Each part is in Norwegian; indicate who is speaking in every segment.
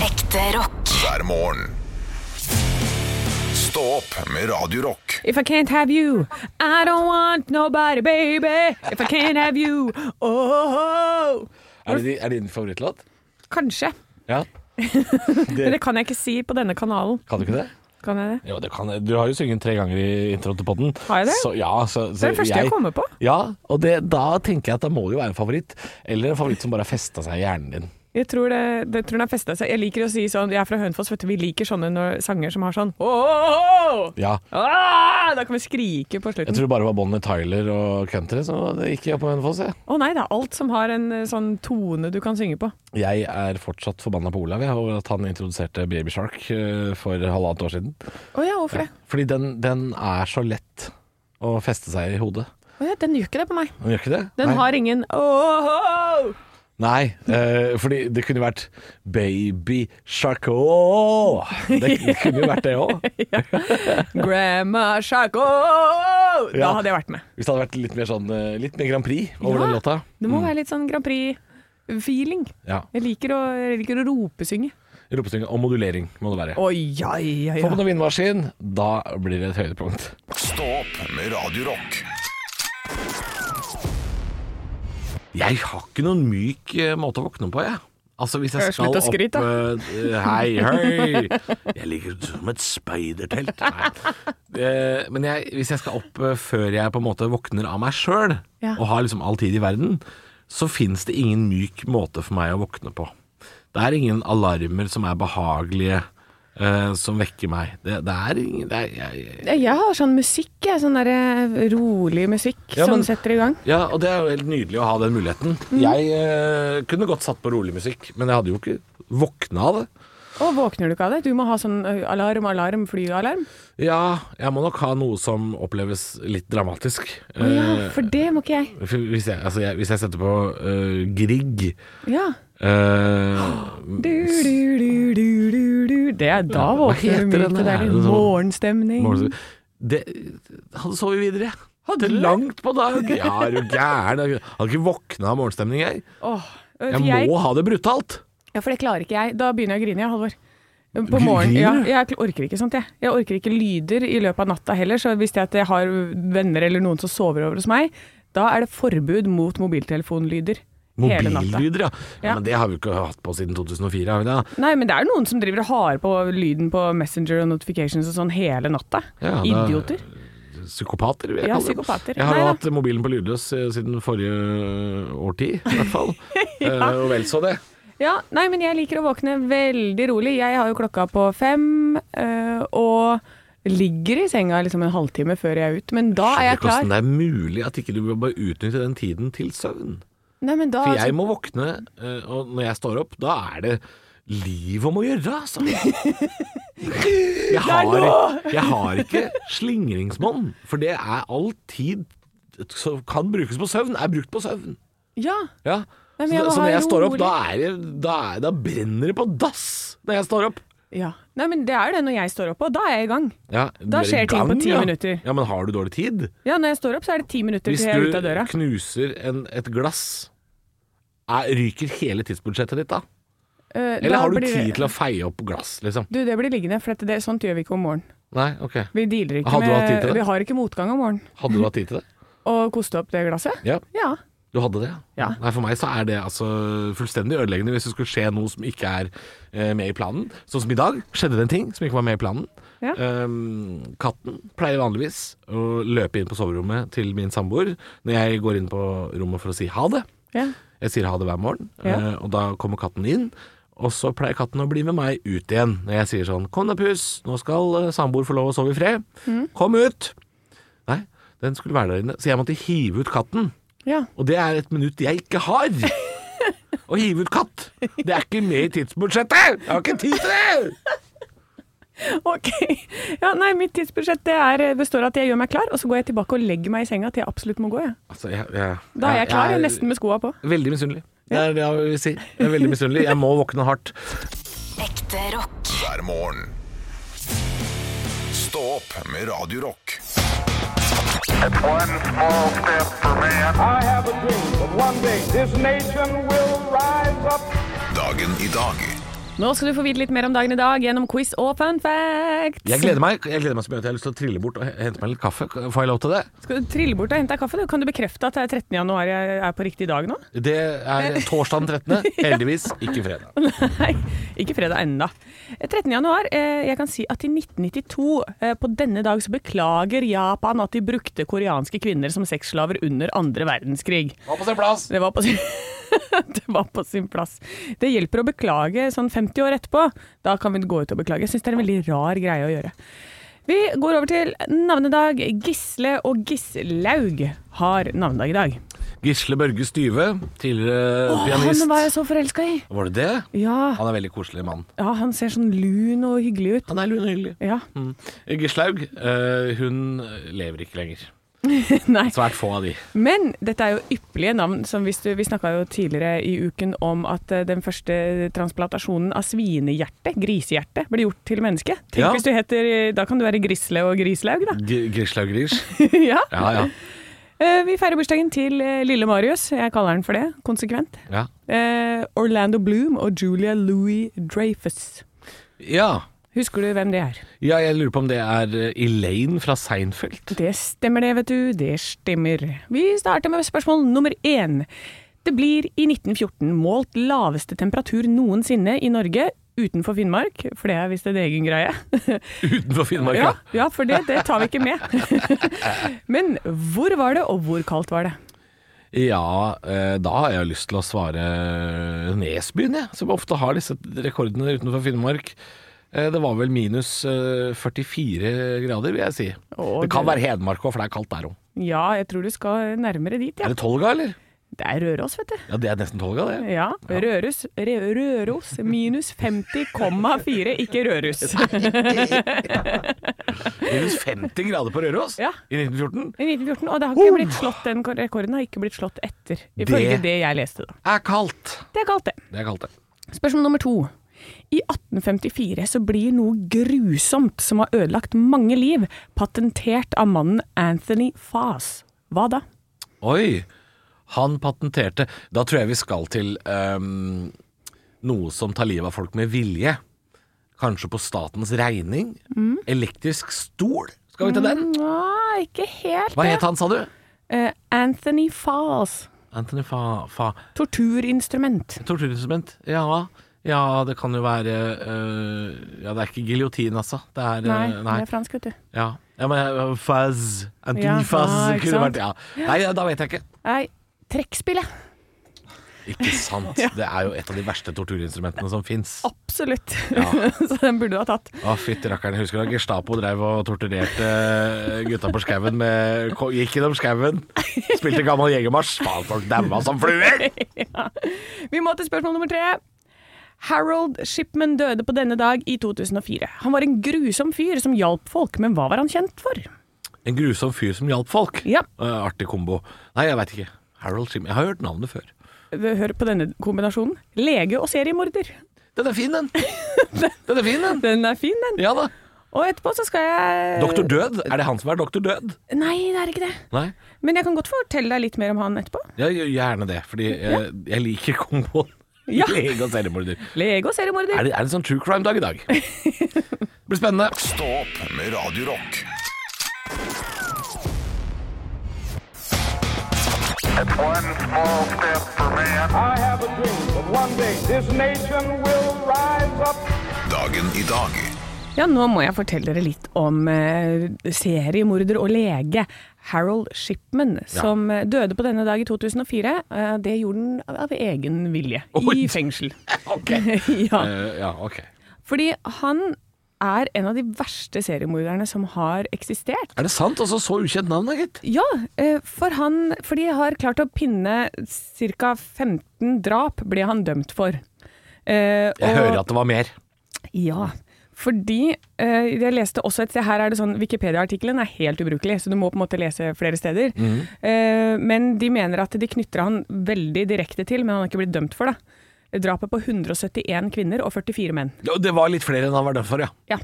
Speaker 1: Ekte rock.
Speaker 2: hver morgen. Stå opp med Radio Rock.
Speaker 3: If I can't have you, I don't want nobody, baby. If I can't have you, oh
Speaker 4: Er det, din- er det din favorittlåt?
Speaker 3: Kanskje.
Speaker 4: Ja.
Speaker 3: Men det kan jeg ikke si på denne kanalen.
Speaker 4: Kan du ikke det?
Speaker 3: Kan jeg det?
Speaker 4: Jo, det kan jeg. Du har jo sunget den tre ganger i introen til podden.
Speaker 3: Har jeg det?
Speaker 4: Så, ja, så,
Speaker 3: Det er det første jeg kommer på.
Speaker 4: Ja, og det, da tenker jeg at det må jo være en favoritt. Eller en favoritt som bare har festa seg i hjernen din.
Speaker 3: Jeg tror, det, det tror den har festa seg. Jeg liker å si sånn Jeg er fra Hønefoss, vet du. Vi liker sånne når, sanger som har sånn oh,
Speaker 4: Ja.
Speaker 3: ah, Da kan vi skrike på
Speaker 4: Jeg
Speaker 3: slutten. Å
Speaker 4: tror det bare var Bonnie Tyler og country som gikk på Hønefoss, jeg.
Speaker 3: nei, det er alt som har en eh, sånn tone du kan synge på.
Speaker 4: Jeg er fortsatt forbanna på Olav jeg, over at han introduserte Baby Shark eh, for halvannet år siden.
Speaker 3: Å ja, hvorfor det?
Speaker 4: Fordi den, den er så lett å feste seg i hodet.
Speaker 3: Å ja, den gjør ikke det på meg.
Speaker 4: Den gjør ikke det?
Speaker 3: Den
Speaker 4: Nei.
Speaker 3: har ingen oh,
Speaker 4: Nei, eh, fordi det kunne vært Baby Shark Åh! Det kunne jo vært det òg.
Speaker 3: Grandma Shark oh, Da
Speaker 4: Ja.
Speaker 3: hadde jeg vært med.
Speaker 4: Hvis det hadde vært litt mer, sånn, eh, litt mer Grand Prix over
Speaker 3: Ja.
Speaker 4: den låta. Mm.
Speaker 3: Det må være litt sånn Grand Prix-feeling.
Speaker 4: Ja.
Speaker 3: Jeg liker å, jeg liker å ropesynge.
Speaker 4: Ropestynge og modulering må det være.
Speaker 3: Oi, oi, oi,
Speaker 4: Få på
Speaker 3: oi.
Speaker 4: noe vindmaskin, da blir det et høydepunkt.
Speaker 2: Stå opp med Radio Rock.
Speaker 4: Jeg har ikke noen myk eh, måte å våkne på, jeg. Altså hvis jeg
Speaker 3: Eh,
Speaker 4: skal
Speaker 3: slutt å
Speaker 4: opp
Speaker 3: skryte,
Speaker 4: eh, Hei, hei! Jeg ligger som et speidertelt. Nei. Eh, Men jeg, hvis jeg skal opp eh, før jeg på en måte våkner av meg sjøl,
Speaker 3: Ja.
Speaker 4: og har liksom all tid i verden, så fins det ingen myk måte for meg å våkne på. Det er ingen alarmer som er behagelige, eh, som vekker meg. Det, det er ingen det er, jeg, jeg,
Speaker 3: Jeg har sånn musikk, jeg. Sånn derre rolig musikk
Speaker 4: Ja, men-
Speaker 3: som setter i gang.
Speaker 4: Ja, og det er jo helt nydelig å ha den muligheten. Jeg eh, kunne godt satt på rolig musikk, men jeg hadde jo ikke våkna av det.
Speaker 3: Og våkner du ikke av det? Du må ha sånn ø, alarm, alarm, flyalarm.
Speaker 4: Ja, jeg må nok ha noe som oppleves litt dramatisk.
Speaker 3: Å ja,
Speaker 4: Eh,
Speaker 3: for det må ikke jeg.
Speaker 4: for hvis, jeg, altså jeg, hvis jeg setter på eh, Grieg
Speaker 3: Ja.
Speaker 4: eh,
Speaker 3: Du, du, du, du, du, du. Det er da
Speaker 4: Ja, hva
Speaker 3: våkner du
Speaker 4: heter den
Speaker 3: mykt. og Det er
Speaker 4: her? Er det
Speaker 3: litt
Speaker 4: sånn-
Speaker 3: morgenstemning.
Speaker 4: morgen- det, Hadde sovet videre, jeg. Hadde langt på dag. Ja, er du gæren? Jeg Hadde ikke våkna av morgenstemning, jeg.
Speaker 3: Åh, ø, for
Speaker 4: Jeg
Speaker 3: jeg,
Speaker 4: må ha det brutalt.
Speaker 3: ja, for det klarer ikke jeg. Da begynner jeg å grine, jeg, Halvor. På
Speaker 4: Griner
Speaker 3: morgen,
Speaker 4: du?
Speaker 3: ja, jeg orker ikke sånt, jeg. Jeg orker ikke lyder i løpet av natta heller, så hvis jeg, at jeg har venner eller noen som sover over hos meg, da er det forbud mot mobiltelefonlyder hele natta.
Speaker 4: Mobillyder, ja.
Speaker 3: Ja.
Speaker 4: ja. Men det har vi jo ikke hatt på siden 2004, har vi det?
Speaker 3: Nei, men det er noen som driver og har på lyden på Messenger og notifications og sånn hele natta.
Speaker 4: Ja, det er-
Speaker 3: Idioter.
Speaker 4: Psykopater, vil jeg
Speaker 3: Ja,
Speaker 4: kalle dem.
Speaker 3: psykopater.
Speaker 4: Jeg har
Speaker 3: Nei
Speaker 4: jo
Speaker 3: da.
Speaker 4: hatt mobilen på lydløs eh, siden forrige eh, årti, i hvert fall. Eh, og vel så det.
Speaker 3: Ja, nei, men jeg liker å våkne veldig rolig. Jeg har jo klokka på fem, øh, og ligger i senga liksom en halvtime før jeg er ute. Men da er jeg
Speaker 4: Hvordan
Speaker 3: klar.
Speaker 4: det er mulig at ikke du bare utnytter den tiden til søvn.
Speaker 3: Nei, men da, sånn-
Speaker 4: For jeg må våkne, eh, og når jeg står opp, da er det liv om å gjøre, altså. Jeg har, jeg har ikke slingringsmonn, for det er all tid som kan brukes på søvn, er brukt på søvn.
Speaker 3: ja,
Speaker 4: Ja.
Speaker 3: Nei, men
Speaker 4: så,
Speaker 3: jeg må
Speaker 4: så
Speaker 3: ha
Speaker 4: når jeg står opp,
Speaker 3: rolig-
Speaker 4: da, er det, da, er, da brenner det på dass når jeg står opp.
Speaker 3: ja. Nei, men det er det når jeg står opp, og da er jeg i gang.
Speaker 4: Ja,
Speaker 3: Da
Speaker 4: du er i
Speaker 3: skjer ting på ti
Speaker 4: ja.
Speaker 3: minutter.
Speaker 4: Ja, Men har du dårlig tid?
Speaker 3: Ja, når jeg står opp, så er det ti minutter
Speaker 4: Hvis
Speaker 3: til jeg er
Speaker 4: du
Speaker 3: ute av døra.
Speaker 4: knuser en, et glass, er, ryker hele tidsbudsjettet ditt da?
Speaker 3: Eh,
Speaker 4: Eller
Speaker 3: da
Speaker 4: har du
Speaker 3: blir
Speaker 4: tid
Speaker 3: det-
Speaker 4: til å feie opp glass, liksom?
Speaker 3: Du, det blir liggende, for at det, sånt gjør vi ikke om morgenen.
Speaker 4: Nei, ok.
Speaker 3: Vi dealer ikke
Speaker 4: Hadde du hatt tid
Speaker 3: med
Speaker 4: til det?
Speaker 3: Vi har ikke motgang om morgenen.
Speaker 4: Hadde du hatt tid til det?
Speaker 3: Å koste opp det glasset?
Speaker 4: Ja.
Speaker 3: Ja.
Speaker 4: Du hadde det,
Speaker 3: Ja.
Speaker 4: Nei, For meg så er det altså fullstendig ødeleggende hvis det skulle skje noe som ikke er eh, med i planen. Sånn som i dag skjedde det en ting som ikke var med i planen.
Speaker 3: Ja.
Speaker 4: Ehm, katten pleier vanligvis å løpe inn på soverommet til min samboer når jeg går inn på rommet for å si ha det.
Speaker 3: ja.
Speaker 4: Jeg sier ha det hver morgen,
Speaker 3: Ja.
Speaker 4: eh, og da kommer katten inn. Og så pleier katten å bli med meg ut igjen når jeg sier sånn Kom da, pus, nå skal eh, samboer få lov å sove i fred.
Speaker 3: Mm.
Speaker 4: Kom ut! Nei, den skulle være der inne, så jeg måtte hive ut katten.
Speaker 3: ja.
Speaker 4: Og det er et minutt jeg ikke har. Å hive ut katt! Det er ikke med i tidsbudsjettet! Jeg har ikke tid til det!
Speaker 3: Ok. Ja, nei, mitt tidsbudsjett det er, eh, består av at jeg gjør meg klar, og så går jeg tilbake og legger meg i senga til jeg absolutt må gå. Jeg.
Speaker 4: Altså, jeg, jeg,
Speaker 3: Da er jeg klar, jeg er nesten med skoa på.
Speaker 4: Veldig misunnelig. Det er det jeg vil si. Jeg er veldig misunnelig. Jeg må våkne hardt.
Speaker 1: Ekte rock.
Speaker 2: Hver morgen. Stå opp med Radio Rock.
Speaker 5: One small step for man.
Speaker 6: I have a dream that one day this nation will rise up.
Speaker 2: Dagen i dag
Speaker 3: Nå skal du få vite litt mer om dagen i dag gjennom quiz og fun facts.
Speaker 4: Jeg gleder meg jeg gleder meg så mye at jeg har lyst til å trille bort og he- hente meg litt kaffe. Får jeg lov til det?
Speaker 3: Skal du trille bort og hente deg kaffe? du? Kan du bekrefte at det er 13. januar jeg er på riktig dag nå?
Speaker 4: Det er torsdag den 13. Heldigvis ikke fredag.
Speaker 3: Nei, ikke fredag ennå. 13. januar, eh, jeg kan si at i 1992, eh, på denne dag, så beklager Japan at de brukte koreanske kvinner som sexslaver under andre verdenskrig.
Speaker 4: Var på sin plass!
Speaker 3: Det var på sin, det var på sin plass. Det hjelper å beklage sånn 50 år etterpå. Da kan vi gå ut og beklage. Jeg syns det er en veldig rar greie å gjøre. Vi går over til navnedag. Gisle og Gislaug har navnedag i dag.
Speaker 4: Gisle Børge Styve, tidligere pianist.
Speaker 3: Han var jeg så forelska i!
Speaker 4: Var det det?
Speaker 3: Ja,
Speaker 4: Han er veldig koselig mann.
Speaker 3: ja, han ser sånn lun og hyggelig ut.
Speaker 4: Han er lun og hyggelig.
Speaker 3: Ja,
Speaker 4: Mm. Gislaug, eh, hun lever ikke lenger.
Speaker 3: nei.
Speaker 4: Svært få av de.
Speaker 3: Men dette er jo ypperlige navn. Som hvis du, vi snakka jo tidligere i uken om at eh, den første transplantasjonen av svinehjerte, grisehjerte, ble gjort til menneske. Tenk
Speaker 4: Ja.
Speaker 3: hvis du heter eh, Da kan du være Grisle og Grislaug, da.
Speaker 4: G Gislaug Grish.
Speaker 3: ja.
Speaker 4: Mm. Ja, ja.
Speaker 3: Eh, Vi feirer bursdagen til eh, lille Marius. Jeg kaller han for det, konsekvent.
Speaker 4: Ja.
Speaker 3: Eh, Orlando Bloom og Julia Louis Dreyfus.
Speaker 4: ja.
Speaker 3: Husker du hvem det er?
Speaker 4: Ja, jeg lurer på om det er eh, Elaine fra Seinfeld.
Speaker 3: Det stemmer det, vet du. Det stemmer. Vi starter med spørsmål nummer én. Det blir i 1914 målt laveste temperatur noensinne i Norge utenfor Finnmark, for det er visst en egen greie.
Speaker 4: Utenfor Finnmark,
Speaker 3: Ja,
Speaker 4: ja.
Speaker 3: ja for det, det tar vi ikke med. Men hvor var det, og hvor kaldt var det?
Speaker 4: Ja, eh, da har jeg jo lyst til å svare Nesbyen, jeg, som ofte har disse rekordene utenfor Finnmark. Eh, Det var vel minus eh, 44 grader, vil jeg si.
Speaker 3: Å,
Speaker 4: det kan
Speaker 3: du-
Speaker 4: være Hedmark òg, for det er kaldt der òg.
Speaker 3: Ja, jeg tror du skal nærmere dit, ja.
Speaker 4: Er det Tolga, eller?
Speaker 3: Det er Røros, vet du.
Speaker 4: Ja, det er nesten Tolga, det.
Speaker 3: Ja, Røros, Re- Røros minus 50,4, ikke Rørus.
Speaker 4: Minus 50 grader på Røros
Speaker 3: Ja.
Speaker 4: i 1914.
Speaker 3: I 1914, og det har
Speaker 4: Oh.
Speaker 3: ikke blitt slått, den kor- rekorden har ikke blitt slått etter, ifølge det jeg leste da.
Speaker 4: Er kaldt.
Speaker 3: Det er kaldt det.
Speaker 4: Det er kaldt, det.
Speaker 3: Spørsmål nummer to. I 1854 så blir noe grusomt som har ødelagt mange liv, patentert av mannen Anthony Faas. Hva da?
Speaker 4: Oi! Han patenterte Da tror jeg vi skal til ehm, noe som tar livet av folk med vilje. Kanskje på statens regning.
Speaker 3: Mm.
Speaker 4: Elektrisk stol. Skal vi til den?
Speaker 3: Nå, ikke helt
Speaker 4: Hva het han, sa du?
Speaker 3: Eh, Anthony Faas.
Speaker 4: Anthony Fa... fa
Speaker 3: Torturinstrument.
Speaker 4: Torturinstrument. Ja, ja, det kan jo være eh, Ja, det er ikke giljotin, altså. Det er eh,
Speaker 3: Nei, det er fransk, vet du.
Speaker 4: Ja. ja, men eh, Faz Anthony
Speaker 3: Ja,
Speaker 4: Faz
Speaker 3: ah, ikke
Speaker 4: kunne
Speaker 3: sant?
Speaker 4: vært ja. Nei, da vet jeg ikke.
Speaker 3: Nei, trekkspill, ja.
Speaker 4: Ikke sant. Det er jo et av de verste torturinstrumentene som fins.
Speaker 3: Absolutt. så den burde du ha tatt.
Speaker 4: Å, fytti rakkeren. Jeg Husker du da Gestapo drev og torturerte eh, gutta på skauen med ko- Gikk gjennom skauen, spilte gammel jegermarsj. Faen, folk daua som fluer!
Speaker 3: Vi må til spørsmål nummer tre. Harold Shipman døde på denne dag i 2004. Han var en grusom fyr som hjalp folk, men hva var han kjent for?
Speaker 4: En grusom fyr som hjalp folk.
Speaker 3: Ja.
Speaker 4: Eh, artig kombo. Nei, jeg veit ikke. Harold Shim. Jeg har hørt navnet før.
Speaker 3: Hør på denne kombinasjonen. Lege og seriemorder.
Speaker 4: Den er fin, den. Den er fin, den.
Speaker 3: Den er fin, den.
Speaker 4: Ja da.
Speaker 3: Og etterpå så skal jeg
Speaker 4: Doktor Død. Er det han som er doktor Død?
Speaker 3: Nei, det er ikke det.
Speaker 4: Nei.
Speaker 3: Men jeg kan godt fortelle deg litt mer om han etterpå.
Speaker 4: Ja, gjør gjerne det, fordi eh, jeg liker komboen.
Speaker 3: Ja.
Speaker 4: Lege og seriemorder.
Speaker 3: Lege og seriemorder.
Speaker 4: Er det, er det sånn true crime-dag i dag? Det blir spennende.
Speaker 2: Stå opp med Radio Rock.
Speaker 5: It's one small step for man.
Speaker 6: I have a dream that one day this nation will rise up.
Speaker 2: Dagen i dag.
Speaker 3: Ja, nå må jeg fortelle dere litt om eh, seriemorder og lege Harold Shipman, som eh, døde på denne dag i 2004. Eh, det gjorde han av- av egen vilje,
Speaker 4: Oi.
Speaker 3: i fengsel.
Speaker 4: Ok.
Speaker 3: ja,
Speaker 4: Eh, ja, ok.
Speaker 3: fordi han er en av de verste seriemorderne som har eksistert.
Speaker 4: Er det sant? Altså, så ukjent navn, da, gitt.
Speaker 3: Ja, eh, for, han, for de har klart å pinne ca. 15 drap, ble han dømt for. Eh,
Speaker 4: Jeg
Speaker 3: og-
Speaker 4: hører at det var mer.
Speaker 3: Ja, fordi eh, jeg leste også et sted Her er det sånn, Wikipedia-artikkelen er helt ubrukelig, så du må på en måte lese flere steder.
Speaker 4: Mhm.
Speaker 3: Eh, men de mener at de knytter han veldig direkte til, men han har ikke blitt dømt for det. Drapet på 171 kvinner og 44 menn.
Speaker 4: Jo, Det var litt flere enn han var dømt for, ja.
Speaker 3: Ja.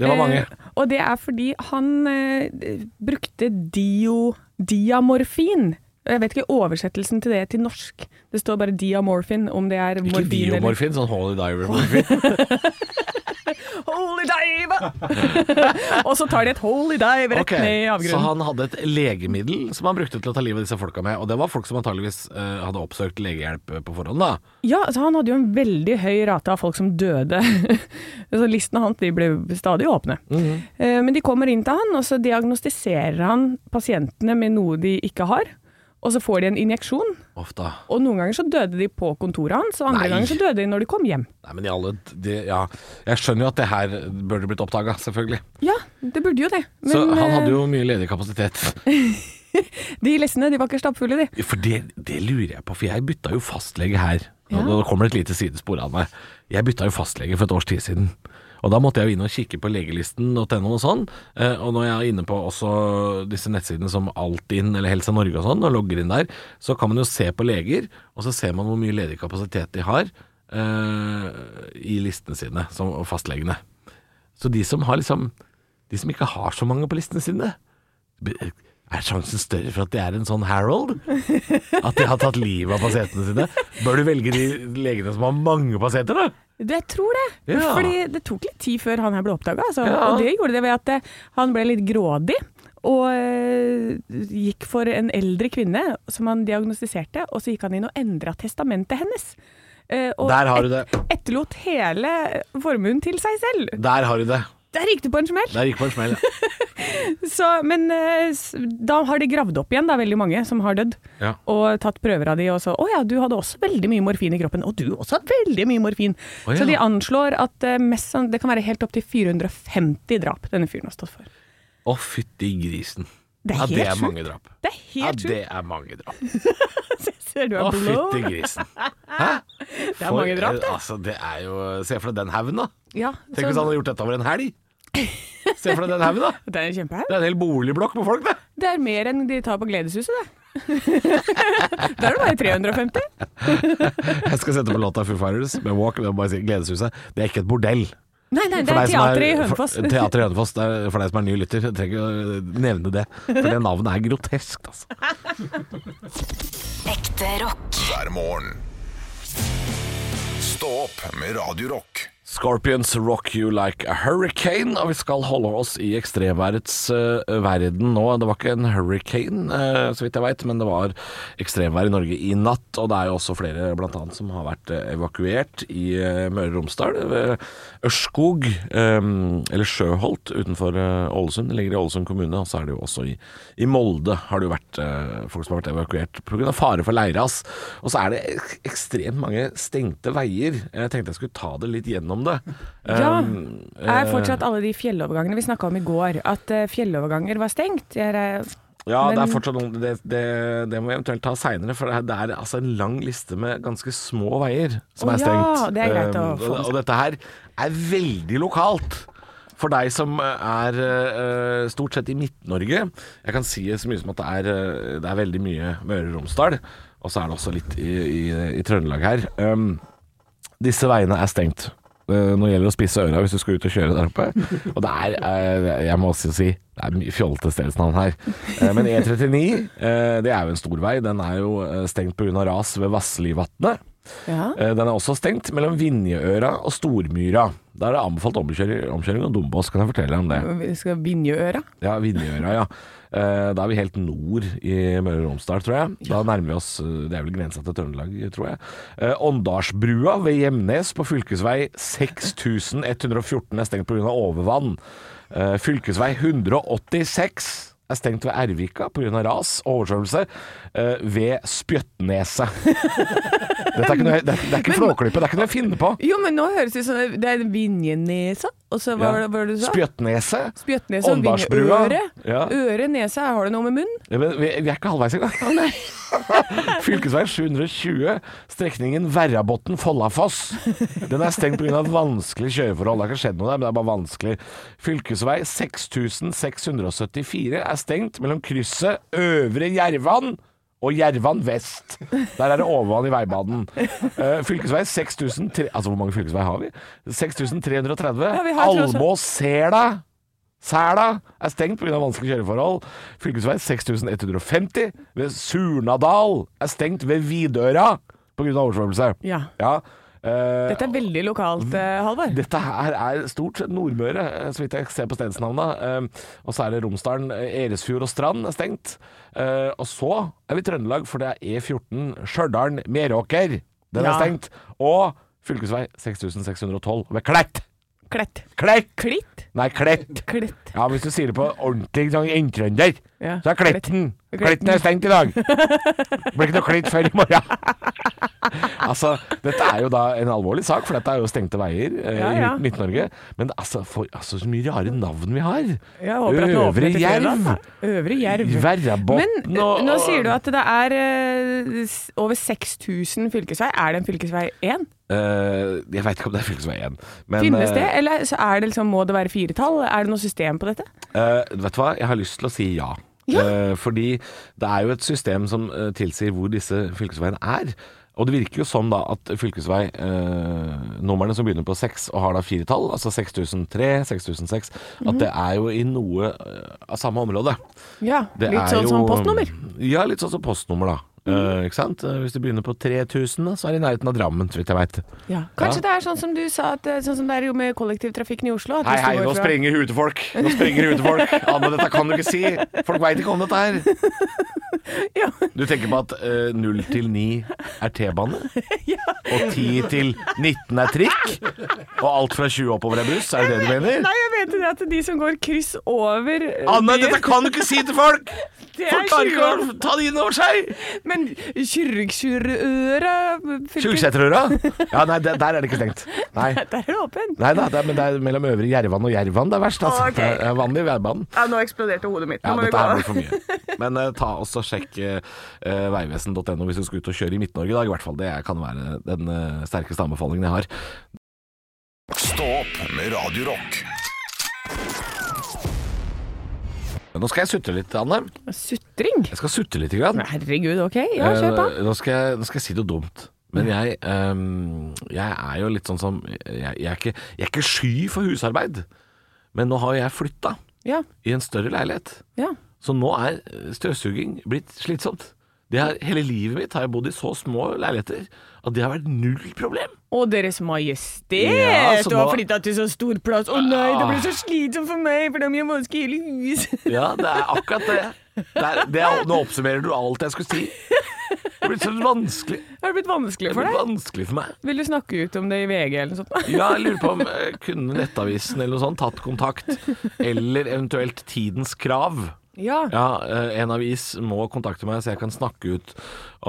Speaker 4: Det var mange.
Speaker 3: Eh, og det er fordi han eh, brukte dio, diamorfin Og Jeg vet ikke oversettelsen til det til norsk. Det står bare diamorfin, om det er
Speaker 4: Ikke
Speaker 3: morfin eller
Speaker 4: biomorfin, sånn Holy Diver-morfin.
Speaker 3: Holy dive! og så tar de et holy dive rett
Speaker 4: Ok,
Speaker 3: ned i
Speaker 4: Så
Speaker 3: avgrunnen.
Speaker 4: han hadde et legemiddel som han brukte til å ta livet av disse folka med, og det var folk som antageligvis eh, hadde oppsøkt legehjelp eh, på forhånd, da.
Speaker 3: Ja, så han hadde jo en veldig høy rate av folk som døde. så listene hans de ble stadig åpne.
Speaker 4: Mhm.
Speaker 3: Eh, Men de kommer inn til han, og så diagnostiserer han pasientene med noe de ikke har. Og så får de en injeksjon,
Speaker 4: Ofte.
Speaker 3: og noen ganger så døde de på kontoret hans, og andre
Speaker 4: Nei.
Speaker 3: ganger så døde de når de kom hjem.
Speaker 4: Nei, men i alle de, Ja, jeg skjønner jo at det her burde blitt oppdaga, selvfølgelig.
Speaker 3: Ja, det burde jo det.
Speaker 4: så han
Speaker 3: eh,
Speaker 4: hadde jo mye ledig kapasitet.
Speaker 3: De listene de var ikke stappfulle, de.
Speaker 4: For det, det lurer jeg på, for jeg bytta jo fastlege her.
Speaker 3: Ja.
Speaker 4: Nå nå kommer det et lite sidespor av meg. Jeg bytta jo fastlege for et års tid siden. Og da måtte jeg jo inn og kikke på legelisten.no og sånn. Eh, Og når jeg er inne på også disse nettsidene som Altinn eller Helse Norge og sånn, og logger inn der, så kan man jo se på leger, og så ser man hvor mye ledig kapasitet de har eh, i listene sine, som og fastlegene. Så de som har liksom De som ikke har så mange på listene sine, er sjansen større for at de er en sånn Harold? At de har tatt livet av pasientene sine? Bør du velge de legene som har mange pasienter, da?
Speaker 3: Det- Jeg tror det.
Speaker 4: Ja.
Speaker 3: Fordi det tok litt tid før han her ble oppdaga. Altså.
Speaker 4: Ja.
Speaker 3: Og det gjorde det ved at eh, han ble litt grådig. Og eh, gikk for en eldre kvinne som han diagnostiserte, og så gikk han inn og endra testamentet hennes. Eh, og
Speaker 4: Der har du det.
Speaker 3: etterlot hele formuen til seg selv.
Speaker 4: Der har du det.
Speaker 3: Der gikk det på en smell!
Speaker 4: Der gikk på en smell.
Speaker 3: Så, men eh, s- da har de gravd opp igjen, da, veldig mange som har dødd.
Speaker 4: Ja.
Speaker 3: Og tatt prøver av de og så Å ja, du hadde også veldig mye morfin i kroppen. Og du også har veldig mye morfin.
Speaker 4: Å ja.
Speaker 3: Så de anslår at eh, mest, sann- det kan være helt opptil 450 drap denne fyren har stått for.
Speaker 4: Å, fytti grisen.
Speaker 3: Det er
Speaker 4: Ja, det
Speaker 3: helt
Speaker 4: er
Speaker 3: sjukt.
Speaker 4: mange drap.
Speaker 3: Det er
Speaker 4: Ja,
Speaker 3: helt sjukt.
Speaker 4: det er mange drap.
Speaker 3: Jeg Ser du
Speaker 4: Å,
Speaker 3: er
Speaker 4: fytti
Speaker 3: blå?
Speaker 4: grisen. Hæ?
Speaker 3: Det er mange drap, det.
Speaker 4: Altså, det er jo Se for deg den haugen, da.
Speaker 3: Ja,
Speaker 4: Tenk hvis han
Speaker 3: så,
Speaker 4: hadde gjort dette over en helg. Se for deg den haugen, da.
Speaker 3: det er kjempehaug.
Speaker 4: Det er en hel boligblokk med folk, det.
Speaker 3: Det er mer enn de tar på Gledeshuset, det. Der er det bare 350.
Speaker 4: Jeg skal sette på låta Foo Fighters med Walk. Jeg må bare si Gledeshuset. Det er ikke et bordell.
Speaker 3: Nei, nei, det
Speaker 4: For
Speaker 3: er
Speaker 4: deg som
Speaker 3: teatret i
Speaker 4: er-
Speaker 3: Hønefoss.
Speaker 4: For, teater i Hønefoss, det er for deg som er ny lytter, jeg trenger ikke å eh, nevne det. For det navnet er groteskt, altså.
Speaker 1: Ekte rock.
Speaker 2: hver morgen. Stå opp med Radio Rock.
Speaker 4: Scorpions rock you like a hurricane, og vi skal holde oss i ekstremværets eh, verden nå. Det var ikke en hurricane, eh, så vidt jeg veit, men det var ekstremvær i Norge i natt. Og det er jo også flere blant annet som har vært eh, evakuert i eh, Møre og Romsdal. Ved Ørskog, eh, eller Sjøholt utenfor eh, Ålesund, det ligger i Ålesund kommune. Og så er det jo også i, i Molde har det jo vært eh, folk som har vært evakuert pga. fare for leirras. Og så er det ek- ekstremt mange stengte veier. Jeg tenkte jeg skulle ta det litt gjennom det.
Speaker 3: Ja,
Speaker 4: Um,
Speaker 3: er fortsatt alle de fjellovergangene vi snakka om i går, at eh, fjelloverganger var stengt. Jeg er, eh,
Speaker 4: Ja, det er
Speaker 3: men-
Speaker 4: fortsatt noen det, det, det må vi eventuelt ta seinere, for det er, det er altså en lang liste med ganske små veier som
Speaker 3: Å
Speaker 4: er
Speaker 3: ja,
Speaker 4: stengt.
Speaker 3: det er greit å
Speaker 4: Um,
Speaker 3: få med
Speaker 4: og,
Speaker 3: seg.
Speaker 4: og dette her er veldig lokalt. For deg som er eh, stort sett i Midt-Norge Jeg kan si så mye som at det er, eh, det er veldig mye Møre og Romsdal, og så er det også litt i, i, i Trøndelag her. Um, disse veiene er stengt eh, når det gjelder å spisse øra hvis du skal ut og kjøre der oppe. Og det er, eh, jeg må også si, det er mye fjollete stedsnavn her. Eh, Men E39, eh, det er jo en stor vei. Den er jo eh, stengt pga. ras ved Vasslivatnet.
Speaker 3: Ja.
Speaker 4: Eh, Den er også stengt mellom Vinjeøra og Stormyra. Der er det anbefalt omkjøring, omkjøring og dombås, kan jeg fortelle deg om det.
Speaker 3: Vi skal Vinjeøra.
Speaker 4: Ja, Vinjeøra, ja. Eh, Da er vi helt nord i Møre og Romsdal, tror jeg. Da nærmer vi oss eh, Det er vel grensa til Trøndelag, tror jeg. Eh, Åndalsbrua ved Gjemnes på fylkesvei 6114 er stengt pga. overvann. Eh, Fylkesvei 186 er stengt ved Ervika pga. ras og oversvømmelse. eh, Ved Spjøttneset. Dette er ikke noe, det er, det er ikke flåklype, det er ikke noe jeg finner på.
Speaker 3: Jo, men nå høres det ut som det er Vinjenesa, og så hva
Speaker 4: Ja.
Speaker 3: var det du sa?
Speaker 4: Spjøttneset.
Speaker 3: Spjøtnese og
Speaker 4: Åndalsbrua.
Speaker 3: Vinjeøre.
Speaker 4: Ja.
Speaker 3: Øre, nese, her har du noe med munn?
Speaker 4: Ja, men vi, vi er ikke halvveis engang. Fylkesveien 720, strekningen Verrabotn-Follafoss. Den er stengt pga. vanskelige kjøreforhold. Det har ikke skjedd noe der, men det er bare vanskelig. Fylkesvei 6674 er stengt mellom krysset Øvre Jervan og Jervan vest. Der er det overvann i veibanen. Eh, Fylkesvei 6003 Altså, hvor mange fylkesvei har vi? 6330.
Speaker 3: Ja, vi har tross alt-
Speaker 4: Almås-Sela Sæla er stengt pga. vanskelige kjøreforhold. Fylkesvei 6150 ved Surnadal er stengt ved Vidøra pga. oversvømmelse.
Speaker 3: Ja.
Speaker 4: Ja. eh,
Speaker 3: Dette er veldig lokalt, eh, Halvor.
Speaker 4: dette her er stort sett Nordmøre, eh, så vidt jeg ser på stedsnavna. Eh, Og så er det Romsdalen, eh, Eresfjord og Strand er stengt. Eh, Og så er vi i Trøndelag, for det er E14 Stjørdal-Meråker. Den er
Speaker 3: Ja.
Speaker 4: stengt. Og fylkesvei 6612 ved Klett.
Speaker 3: Klett.
Speaker 4: Klett!
Speaker 3: Klitt?
Speaker 4: Nei, Klett.
Speaker 3: Klitt.
Speaker 4: Ja, hvis du sier det på ordentlig sånn inntrønder,
Speaker 3: Ja.
Speaker 4: så er Kletten.
Speaker 3: Klett.
Speaker 4: Kletten er stengt i dag. Det blir ikke noe klett før i morgen. altså, dette er jo da en alvorlig sak, for dette er jo stengte veier eh,
Speaker 3: Ja, ja.
Speaker 4: i Midt-Norge. Men altså, for, altså, så mye rare navn vi har.
Speaker 3: Jeg håper at den åpner
Speaker 4: Øvre
Speaker 3: til fredag,
Speaker 4: Jerv.
Speaker 3: da. Øvre Jerv. Men
Speaker 4: Verrabotn og
Speaker 3: eh, nå sier du at det er eh, s- over 6000 fylkesvei. Er det en fylkesvei 1?
Speaker 4: Eh, Jeg veit ikke om det er fylkesvei 1. Men,
Speaker 3: Finnes det,
Speaker 4: eh,
Speaker 3: eller så er det liksom, må det være firetall? Er det noe system på dette?
Speaker 4: Eh, vet du hva, jeg har lyst til å si ja. Eh, fordi det er jo et system som eh, tilsier hvor disse fylkesveiene er. Og det virker jo som da at fylkesvei eh, numrene som begynner på 6 og har da fire tall, altså 6003, 6006,
Speaker 3: Mhm.
Speaker 4: at det er jo i noe eh, av samme område.
Speaker 3: Ja,
Speaker 4: Det
Speaker 3: litt
Speaker 4: er
Speaker 3: sånn
Speaker 4: jo-
Speaker 3: som postnummer. Mhm.
Speaker 4: Ja, litt sånn som postnummer, da. Eh, ikke sant? Eh, Hvis det begynner på 3000, så er det i nærheten av Drammen, så vidt jeg veit.
Speaker 3: Kanskje det er sånn som du sa, at, eh, sånn som det er jo med kollektivtrafikken i Oslo. At
Speaker 4: Hei,
Speaker 3: hvis du
Speaker 4: hei,
Speaker 3: går
Speaker 4: nå
Speaker 3: fra-
Speaker 4: sprenger huet til folk! Nå sprenger huet til folk! Anne, dette kan du ikke si! Folk veit ikke om dette her!
Speaker 3: Ja.
Speaker 4: Du tenker på at eh, 0 til 9 er T-bane, og 10 til 19 er trikk, og alt fra 20 oppover er buss, er det det du mener?
Speaker 3: Nei, jeg mente det at de som går kryss over eh,
Speaker 4: Anne,
Speaker 3: byen,
Speaker 4: dette kan du ikke si til folk!
Speaker 3: det
Speaker 4: Folk
Speaker 3: er
Speaker 4: klarer ikke
Speaker 3: Kyrre-
Speaker 4: å ta det inn over seg!
Speaker 3: Men Kyrksjurøra fylke,
Speaker 4: Tjulseterøra? Ja, nei, det, der er det ikke stengt. Nei.
Speaker 3: der er det åpent.
Speaker 4: Nei da, det er, men det er mellom Øvre Jervan og Jervan det er verst, altså.
Speaker 3: Ok.
Speaker 4: Det er vanlig værbanen.
Speaker 3: Ja, nå eksploderte hodet mitt.
Speaker 4: Ja,
Speaker 3: Nå må vi
Speaker 4: dette her
Speaker 3: gå.
Speaker 4: blir for mye. Men eh, ta også sjekk uh, veivesen.no hvis du skal ut og kjøre i Midt-Norge i dag, i hvert fall. Det kan være den eh, sterkeste anbefalingen jeg har.
Speaker 2: Stå opp med Radio Rock.
Speaker 4: Nå skal jeg sutre litt, Anne.
Speaker 3: Sutring?
Speaker 4: Jeg skal sutre litt. Grann.
Speaker 3: Herregud, ok. Ja, kjør på.
Speaker 4: Eh, nå, skal jeg, nå skal jeg si noe dumt. Men jeg, ehm, jeg er jo litt sånn som Jeg, jeg, er, ikke, jeg er ikke sky for husarbeid. Men nå har jeg flytta
Speaker 3: Ja,
Speaker 4: i en større leilighet.
Speaker 3: ja.
Speaker 4: Så nå er eh, støvsuging blitt slitsomt. Det har, hele livet mitt har jeg bodd i så små leiligheter at det har vært null problem.
Speaker 3: Å, Deres Majestet,
Speaker 4: Ja, så
Speaker 3: du har
Speaker 4: nå-
Speaker 3: flytta til så stor plass. Å nei, det blir så slitsomt for meg, for det er mye vanskelig i hele huset.
Speaker 4: Ja, det er akkurat det. det, er, det er, nå oppsummerer du alt jeg skulle si. Det blir så vanskelig.
Speaker 3: Har det blitt vanskelig
Speaker 4: Det
Speaker 3: for
Speaker 4: blir
Speaker 3: deg?
Speaker 4: vanskelig for meg.
Speaker 3: Vil du snakke ut om det i VG eller noe sånt?
Speaker 4: Ja, jeg lurer på om eh, kunne Nettavisen eller noe sånt tatt kontakt, eller eventuelt Tidens Krav.
Speaker 3: Ja.
Speaker 4: Ja, eh, en avis må kontakte meg så jeg kan snakke ut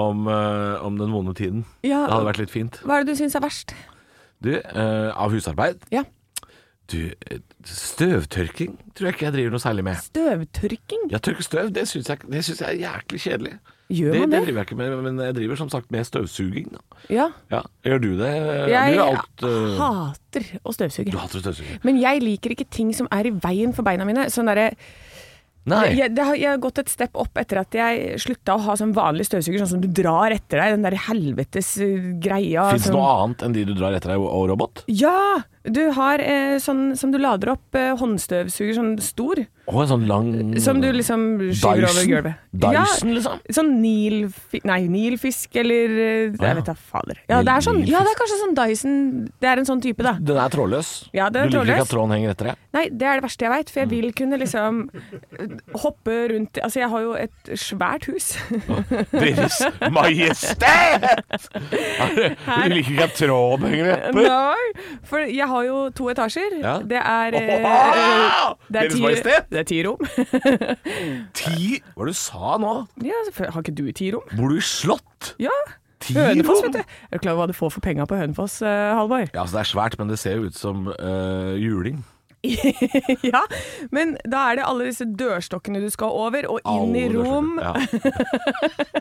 Speaker 4: om, eh, om den vonde tiden.
Speaker 3: Ja.
Speaker 4: Det hadde vært litt fint.
Speaker 3: Hva er det du syns er verst?
Speaker 4: Du, eh, av husarbeid
Speaker 3: Ja.
Speaker 4: Du, eh, støvtørking tror jeg ikke jeg driver noe særlig med.
Speaker 3: Støvtørking?
Speaker 4: Ja, tørke støv, det syns jeg, det syns jeg er jæklig kjedelig.
Speaker 3: Gjør man
Speaker 4: det
Speaker 3: det?
Speaker 4: driver jeg ikke med, men jeg driver som sagt med støvsuging. Da.
Speaker 3: Ja.
Speaker 4: Ja, Gjør du det?
Speaker 3: Jeg
Speaker 4: du, er alt, øh,
Speaker 3: hater å støvsuge.
Speaker 4: du hater å støvsuge?
Speaker 3: Men jeg liker ikke ting som er i veien for beina mine. Sånn derre
Speaker 4: Nei.
Speaker 3: jeg, det har, jeg har gått et step opp etter at jeg slutta å ha sånn vanlig støvsuger, sånn som du drar etter deg, den der helvetes eh, greia.
Speaker 4: Fins det
Speaker 3: som-
Speaker 4: noe annet enn de du drar etter deg, og og robot?
Speaker 3: Ja! Du har eh, sånn som du lader opp eh, håndstøvsuger, sånn stor,
Speaker 4: Og en sånn lang
Speaker 3: som du liksom skyver over
Speaker 4: Dyson?
Speaker 3: gulvet.
Speaker 4: Dyson, liksom?
Speaker 3: Ja, sånn nilfi, nei, nilfisk eller eh,
Speaker 4: ja.
Speaker 3: Jeg vet da fader. Ja det, er sånn, ja, det er kanskje sånn Dyson Det er en sånn type, da.
Speaker 4: Den er trådløs?
Speaker 3: Ja, den er
Speaker 4: du liker ikke
Speaker 3: trådløs.
Speaker 4: at tråden henger etter deg?
Speaker 3: Nei, det er det verste jeg veit, for jeg vil kunne liksom eh, hoppe rundt Altså, jeg har jo et svært hus.
Speaker 4: Deres Majestet! Du liker ikke at tråden henger etter?
Speaker 3: Nei, for jeg har jo to etasjer.
Speaker 4: Ja.
Speaker 3: Det er eh,
Speaker 4: Åh!
Speaker 3: det er
Speaker 4: Deres
Speaker 3: ti-
Speaker 4: Majestet!
Speaker 3: Det er ti rom.
Speaker 4: Ti Hva var det du sa nå?
Speaker 3: Ja, så har ikke du ti rom?
Speaker 4: Bor du i slott?
Speaker 3: Ja.
Speaker 4: Ti
Speaker 3: Hønefoss,
Speaker 4: rom?
Speaker 3: vet du. Er du klar over hva du får for penga på Hønefoss, eh, Halvor?
Speaker 4: Ja, altså Det er svært, men det ser jo ut som øh, juling.
Speaker 3: ja, men da er det alle disse dørstokkene du skal over, og inn i
Speaker 4: Alle
Speaker 3: rom.
Speaker 4: dørstokker. Ja.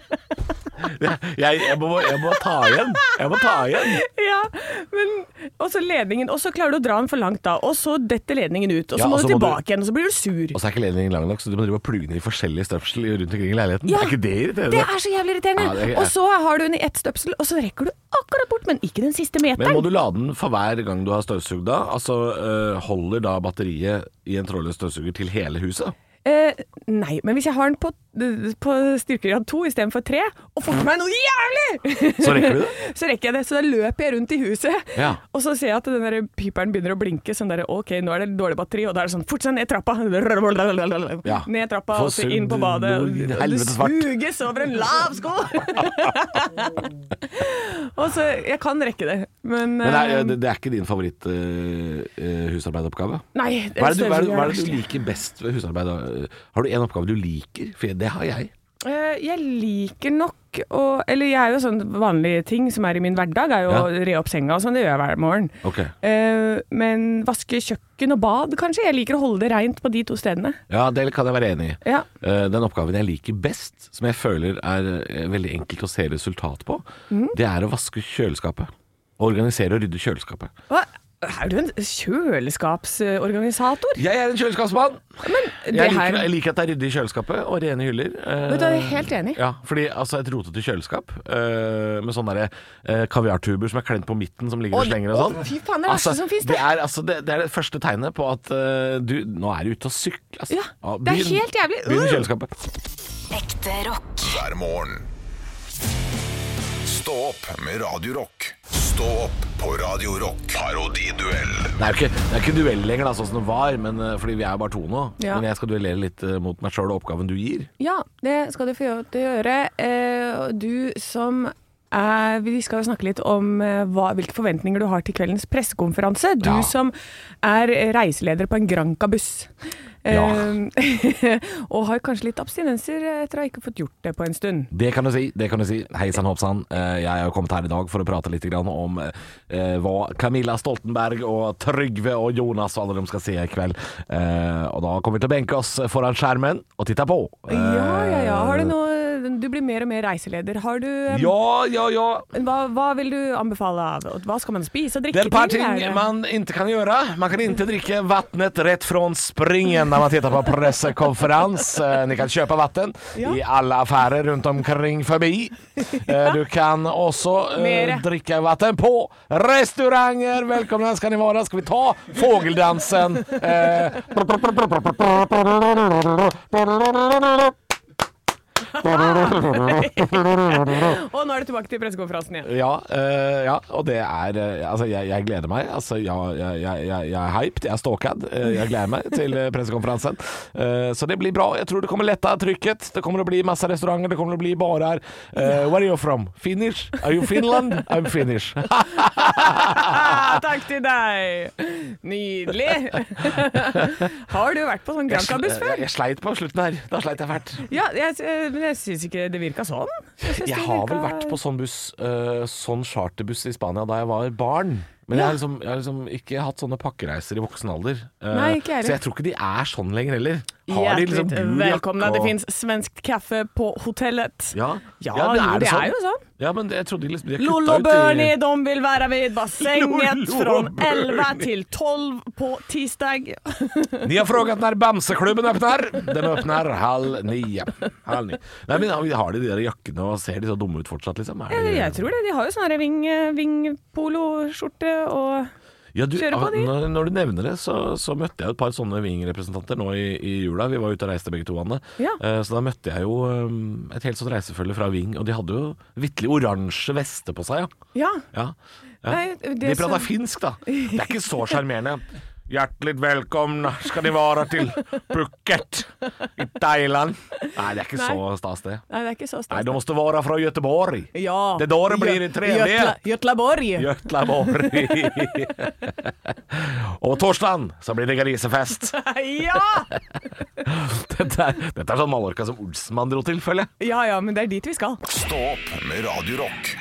Speaker 4: Jeg, jeg, må, jeg må ta igjen. Jeg må ta igjen.
Speaker 3: Ja, men Og så ledningen, og så klarer du å dra den for langt da, og så detter ledningen ut. Og så
Speaker 4: Ja,
Speaker 3: må
Speaker 4: og så
Speaker 3: du
Speaker 4: må du-
Speaker 3: tilbake igjen, og så blir du sur.
Speaker 4: Og så er ikke ledningen lang nok, så du må drive og pluge den i forskjellig støpsel rundt omkring i leiligheten.
Speaker 3: Ja,
Speaker 4: Er ikke det
Speaker 3: Det
Speaker 4: irriterende?
Speaker 3: er så jævlig irriterende!
Speaker 4: Ja, det er-
Speaker 3: Og så har du den i ett støpsel, og så rekker du akkurat bort, men ikke den siste
Speaker 4: Men må
Speaker 3: meteren.
Speaker 4: du lade den for hver gang du har støvsugd da? Altså øh, holder da batteriet i en trådløs støvsuger til hele huset?
Speaker 3: Eh, nei, men hvis jeg har den på, på styrkegrad to istedenfor tre, og får meg noe jævlig,
Speaker 4: Så rekker du det?
Speaker 3: så rekker jeg det. Så da løper jeg rundt i huset,
Speaker 4: Ja.
Speaker 3: og så ser jeg at den der piperen begynner å blinke. Sånn der, OK, nå er det dårlig batteri, og da er det sånn Fort seg ned trappa!
Speaker 4: Ja.
Speaker 3: Ned trappa,
Speaker 4: Få
Speaker 3: og så
Speaker 4: sugd
Speaker 3: inn på badet.
Speaker 4: noe
Speaker 3: og Du
Speaker 4: helvetes fart.
Speaker 3: suges over en lav sko! og så Jeg kan rekke det, men,
Speaker 4: Men det er,
Speaker 3: eh,
Speaker 4: det, det er ikke din favoritt øh, øh, husarbeidoppgave?
Speaker 3: Nei.
Speaker 4: Hva er, det du, hva, er det, hva er det
Speaker 3: støvsugeren
Speaker 4: du liker best ved husarbeid? da? Har du en oppgave du liker? For det har jeg.
Speaker 3: Eh, Jeg liker nok å Eller jeg er jo sånn vanlige ting som er i min hverdag, er jo
Speaker 4: Ja.
Speaker 3: å re opp senga og sånn. Det gjør jeg hver morgen.
Speaker 4: Ok.
Speaker 3: Eh, men vaske kjøkken og bad, kanskje. Jeg liker å holde det reint på de to stedene.
Speaker 4: Ja, det kan jeg være enig i.
Speaker 3: Ja.
Speaker 4: Eh, Den oppgaven jeg liker best, som jeg føler er eh, veldig enkelt å se resultat på,
Speaker 3: Mm.
Speaker 4: det er å vaske kjøleskapet. Organisere og rydde kjøleskapet.
Speaker 3: Hva? Er du en kjøleskapsorganisator?
Speaker 4: Jeg er en kjøleskapsmann!
Speaker 3: Det
Speaker 4: Jeg
Speaker 3: her-
Speaker 4: liker, jeg liker at det er ryddig i kjøleskapet og rene hyller. eh,
Speaker 3: Vet du, jeg er helt enig.
Speaker 4: Ja, fordi altså, et rotete kjøleskap eh, med sånne der, eh, kaviartuber som er klemt på midten, som ligger og
Speaker 3: Oi,
Speaker 4: slenger og sånn.
Speaker 3: å, fy faen, det er det verste som finnes, det.
Speaker 4: det. Er, altså, det, det er det første tegnet på at eh, du Nå er du ute og sykler, altså.
Speaker 3: Ja, det er helt jævlig.
Speaker 4: Begynn i
Speaker 3: Øh.
Speaker 4: kjøleskapet.
Speaker 1: Ekte rock.
Speaker 2: hver morgen. Stå opp med Radio Rock. Stå opp på Radio Rock. Parodiduell
Speaker 4: Det er jo ikke, det er ikke duell lenger, da, sånn som det var, men, eh, fordi vi er jo bare to nå.
Speaker 3: Ja.
Speaker 4: Men jeg skal duellere litt eh, mot meg sjøl og oppgaven du gir.
Speaker 3: Ja, det skal du få gjøre- til å gjøre. Eh, du som er, vi skal jo snakke litt om eh, hva, hvilke forventninger du har til kveldens pressekonferanse. Du
Speaker 4: Ja.
Speaker 3: som er reiseleder på en Granca-buss.
Speaker 4: Ja.
Speaker 3: Eh, og har kanskje litt abstinenser etter å ha ikke fått gjort det på en stund.
Speaker 4: Det kan du si. det kan du si Hei sann, hoppsann. Eh, Jeg er jo kommet her i dag for å prate litt grann om eh, hva Camilla Stoltenberg og Trygve og Jonas og alle de skal si i kveld. Eh, Og da kommer vi til å benke oss foran skjermen og titte på.
Speaker 3: Ja, ja, ja. Har du noe Du blir mer og mer reiseleder. Har du eh,
Speaker 4: Ja, ja, ja.
Speaker 3: hva, hva vil du anbefale av og Hva skal man spise og
Speaker 4: Det
Speaker 3: drikke
Speaker 4: er et par
Speaker 3: til? er
Speaker 4: ting
Speaker 3: det?
Speaker 4: man ikke kan gjøre. Man kan ikke drikke vannet rett fra springen når man ser på pressekonferanse. Dere kan kjøpe vann
Speaker 3: Ja.
Speaker 4: i alle affærer rundt omkring forbi. Eh, Du kan også eh,
Speaker 3: Mere.
Speaker 4: drikke vann på restauranter. Velkommen skal ni være. Skal vi ta fågeldansen? Eh,
Speaker 3: Og nå er du tilbake til pressekonferansen igjen.
Speaker 4: Ja, eh, ja, og det er eh, Altså, jeg, jeg gleder meg. Altså, jeg, jeg, jeg, jeg jeg er hyped, jeg er stalkad. eh, jeg gleder meg til eh, pressekonferansen. Eh, så det blir bra. Jeg tror det kommer letta trykket. Det kommer å bli masse restauranter, det kommer å bli barer. Eh, where are you from? Finnish? Are you Finland? I'm Finnish.
Speaker 3: Ah, takk til deg! Nydelig! Har du vært på sånn Granca-buss
Speaker 4: jeg,
Speaker 3: før?
Speaker 4: jeg sleit på slutten her. Da sleit jeg fælt.
Speaker 3: Ja, jeg, eh, men jeg syns ikke det virka sånn. synes
Speaker 4: Jeg
Speaker 3: det
Speaker 4: har vel
Speaker 3: virka-
Speaker 4: vært på sånn buss, eh, sånn charterbuss i Spania da jeg var barn. Men jeg, har liksom, jeg har liksom ikke hatt sånne pakkereiser i voksen alder. Eh,
Speaker 3: Nei, ikke jeg heller.
Speaker 4: så jeg tror ikke de er sånn lenger heller. Har de
Speaker 3: Hjertelig
Speaker 4: liksom gul jakke
Speaker 3: Velkomna. Det
Speaker 4: og-
Speaker 3: fins svensk kaffe på hotellet.
Speaker 4: ja.
Speaker 3: Ja, jo, det er jo sånn.
Speaker 4: Ja, men jeg trodde de liksom de har
Speaker 3: Lollo
Speaker 4: kutta
Speaker 3: og Bernie,
Speaker 4: ut i
Speaker 3: de vil være ved bassenget
Speaker 4: Lollo og
Speaker 3: fra
Speaker 4: Bernie.
Speaker 3: 11 til 12 på tirsdag.
Speaker 4: Ni har spurt når Bamseklubben åpner. Den åpner halv ni. Halv ni. Nei, men har- Har de de der jakkene og ser de så dumme ut fortsatt, liksom? Er det-
Speaker 3: Jeg tror det. De har jo sånn vingpoloskjorte og
Speaker 4: Ja, du, ah,
Speaker 3: Kjøre på de.
Speaker 4: Når, når du nevner det, så, så møtte jeg jo et par sånne Ving-representanter nå i, i jula. Vi var ute og reiste begge to, Anne.
Speaker 3: Ja.
Speaker 4: Eh, Så da møtte jeg jo eh, et helt sånt reisefølge fra Ving, og de hadde jo vitterlig oransje veste på seg. Ja.
Speaker 3: Ja.
Speaker 4: ja. ja.
Speaker 3: Nei, det
Speaker 4: de prata
Speaker 3: som-
Speaker 4: finsk, da. Det er ikke så sjarmerende. Hjertelig velkommen skal de være til Phuket i Thailand. Nei, det er ikke
Speaker 3: Nei.
Speaker 4: så stas, det.
Speaker 3: Nei, det er ikke så
Speaker 4: Nei,
Speaker 3: stas.
Speaker 4: de måste være fra Göteborg.
Speaker 3: Ja.
Speaker 4: Det er da det blir i 3D.
Speaker 3: Götlaborg.
Speaker 4: Gjøtlaborg. og torsdagen så blir det grisefest.
Speaker 3: Ja!
Speaker 4: Dette er, dette er sånn Mallorca som Olsenmann dro til, føler jeg.
Speaker 3: ja, ja, men det er dit vi skal.
Speaker 2: Stå opp med Radio Rock.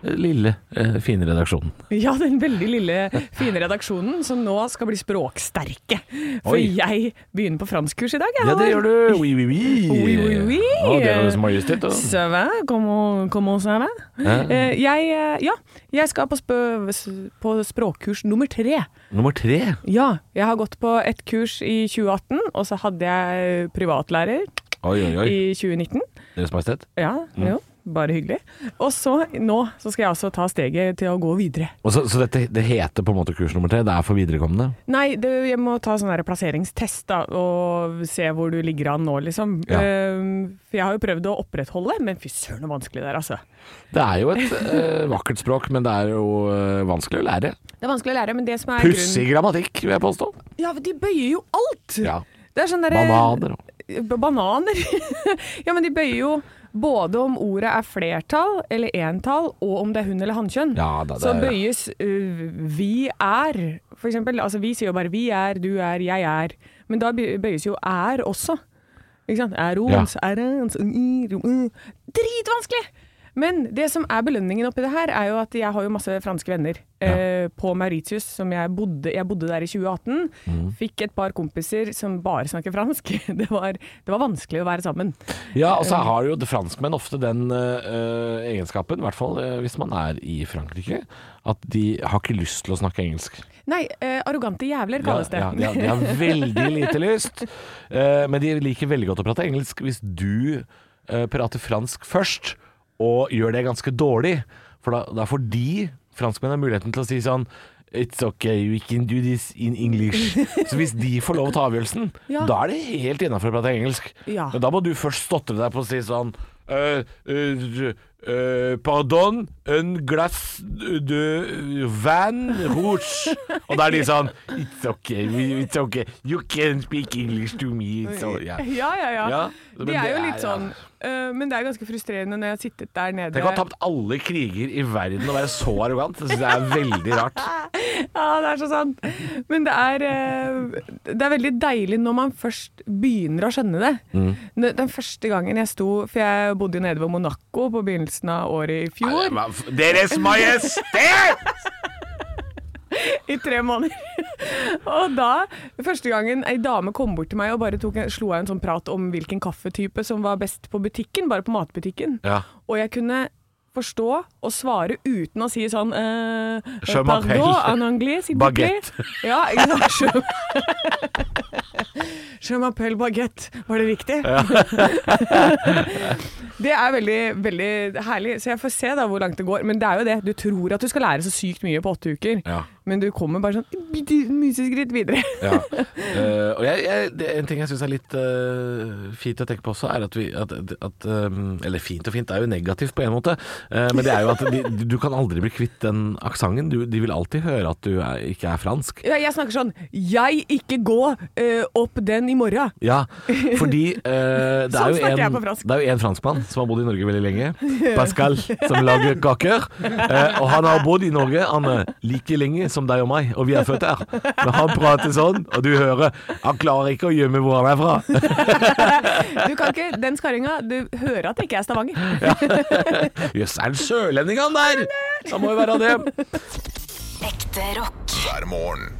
Speaker 4: eh, lille, eh, fine redaksjonen.
Speaker 3: Ja, den veldig lille, fine redaksjonen som nå skal bli språksterke. For
Speaker 4: Oi.
Speaker 3: jeg begynner på franskkurs i dag. jeg,
Speaker 4: Ja,
Speaker 3: Halvor.
Speaker 4: det gjør du! Oui, oui, oui.
Speaker 3: Oui, oui, oui.
Speaker 4: Å, det er Deres Majestet. da.
Speaker 3: Ça va? Comment, comment ça va? Eh, jeg, eh, ja, jeg skal på, spø- på språkkurs nummer tre.
Speaker 4: Nummer tre.
Speaker 3: Ja, jeg har gått på et kurs i 2018, og så hadde jeg privatlærer
Speaker 4: Oi, oi, oi.
Speaker 3: i 2019.
Speaker 4: Deres Majestet.
Speaker 3: Ja,
Speaker 4: Mm.
Speaker 3: jo, bare hyggelig. Og så, nå, så skal jeg altså ta steget til å gå videre.
Speaker 4: Og så, så dette det heter på en måte kurs nummer tre? Det er for viderekommende?
Speaker 3: Nei, det, jeg må ta sånn der plasseringstest da, og se hvor du ligger an nå, liksom.
Speaker 4: Ja.
Speaker 3: Ehm, for jeg har jo prøvd å opprettholde, men fy søren hvor vanskelig det er, altså.
Speaker 4: Det er jo et eh, vakkert språk, men det er jo eh, vanskelig å lære.
Speaker 3: Det er vanskelig å lære, men det som er
Speaker 4: Pussig grammatikk, vil jeg påstå.
Speaker 3: grunnen... Ja, men de bøyer jo alt!
Speaker 4: Ja.
Speaker 3: Det er sånn derre
Speaker 4: Bananer og
Speaker 3: B- Bananer? ja, men de bøyer jo både om ordet er flertall eller entall, og om det er hun eller hannkjønn.
Speaker 4: Ja, da, det
Speaker 3: så
Speaker 4: er-
Speaker 3: bøyes ø, vi er, for eksempel. Altså, vi sier jo bare vi er, du er, jeg er. Men da bøy- bøyes jo er også. Ikke sant? Er ons, er ens, i, ro, i. Dritvanskelig! Men det som er belønningen oppi det her, er jo at jeg har jo masse franske venner eh, på Mauritius, som jeg bodde, jeg bodde der i 2018.
Speaker 4: Mm.
Speaker 3: Fikk et par kompiser som bare snakker fransk. Det var, det var vanskelig å være sammen.
Speaker 4: Ja, og så har jo det franskmenn ofte den eh, egenskapen, i hvert fall eh, hvis man er i Frankrike, at de har ikke lyst til å snakke engelsk.
Speaker 3: Nei, eh, arrogante jævler
Speaker 4: Ja,
Speaker 3: kalles det.
Speaker 4: ja, de, har, de har veldig lite lyst, eh, men de liker veldig godt å prate engelsk hvis du eh, prater fransk først, og gjør det ganske dårlig. For da, da får de, franskmenn, har muligheten til å si sånn It's okay, we can do this in English. Så hvis de får lov å ta avgjørelsen,
Speaker 3: Ja.
Speaker 4: da er det helt innafor å prate engelsk.
Speaker 3: Ja.
Speaker 4: Men da må du først stotre deg på å si sånn «Eh, eh, eh, pardon, un glass de van rouge. Og da er de sånn It's okay, we- it's okay. You can speak English to me. It's all, yeah.
Speaker 3: Ja, ja, ja.
Speaker 4: Ja, men
Speaker 3: de er
Speaker 4: det
Speaker 3: jo
Speaker 4: er-
Speaker 3: litt sånn. eh, men det er ganske frustrerende når jeg har sittet der nede.
Speaker 4: Tenk å ha tapt alle kriger i verden og være så arrogant. Det syns jeg er veldig rart.
Speaker 3: Ja, det er så sant. Men det er, eh, det er veldig deilig når man først begynner å skjønne det. N- Den første gangen jeg sto For jeg bodde jo nede ved Monaco på begynnelsen av året i fjor.
Speaker 4: Deres Majestet!
Speaker 3: I tre måneder. og da, første gangen ei dame kom bort til meg og bare tok, en- slo av en sånn prat om hvilken kaffetype som var best på butikken, bare på matbutikken.
Speaker 4: Ja.
Speaker 3: Og jeg kunne forstå og svare uten å si sånn eh,
Speaker 4: Je m'appelle
Speaker 3: Pardon, en anglais, s'il vous plaît.
Speaker 4: Baguette.
Speaker 3: Ja, ikke sant. Je, Je m'appelle baguette. Var det riktig? det er veldig, veldig herlig. Så jeg får se da hvor langt det går. Men det er jo det. Du tror at du skal lære så sykt mye på åtte uker,
Speaker 4: Ja.
Speaker 3: men du kommer bare sånn bitte museskritt videre.
Speaker 4: Ja. Eh, og jeg, jeg, det, en ting jeg syns er litt eh, fint å tenke på også, er at vi at, at, um, Eller fint og fint, det er jo negativt på en måte. eh, men det er jo at de, du kan aldri bli kvitt den aksenten. De vil alltid høre at du er, ikke er fransk.
Speaker 3: Ja, Jeg snakker sånn Jeg ikke gå eh, opp den i morgen.
Speaker 4: Ja, fordi eh,
Speaker 3: Sånn
Speaker 4: det, er jo
Speaker 3: snakker jeg
Speaker 4: en,
Speaker 3: på fransk.
Speaker 4: det er jo en franskmann som har bodd i Norge veldig lenge. Pascal, som lager kaker. Eh, og han har bodd i Norge han er like lenge som deg og meg, og vi er født her. Men han prater sånn, og du hører Han klarer ikke å gjemme hvor han er fra.
Speaker 3: Du kan ikke, Den skarringa Du hører at det ikke er Stavanger.
Speaker 4: Jøss, er det sørlending han der? Da må jo være det.
Speaker 1: Ekte rock.
Speaker 2: hver morgen.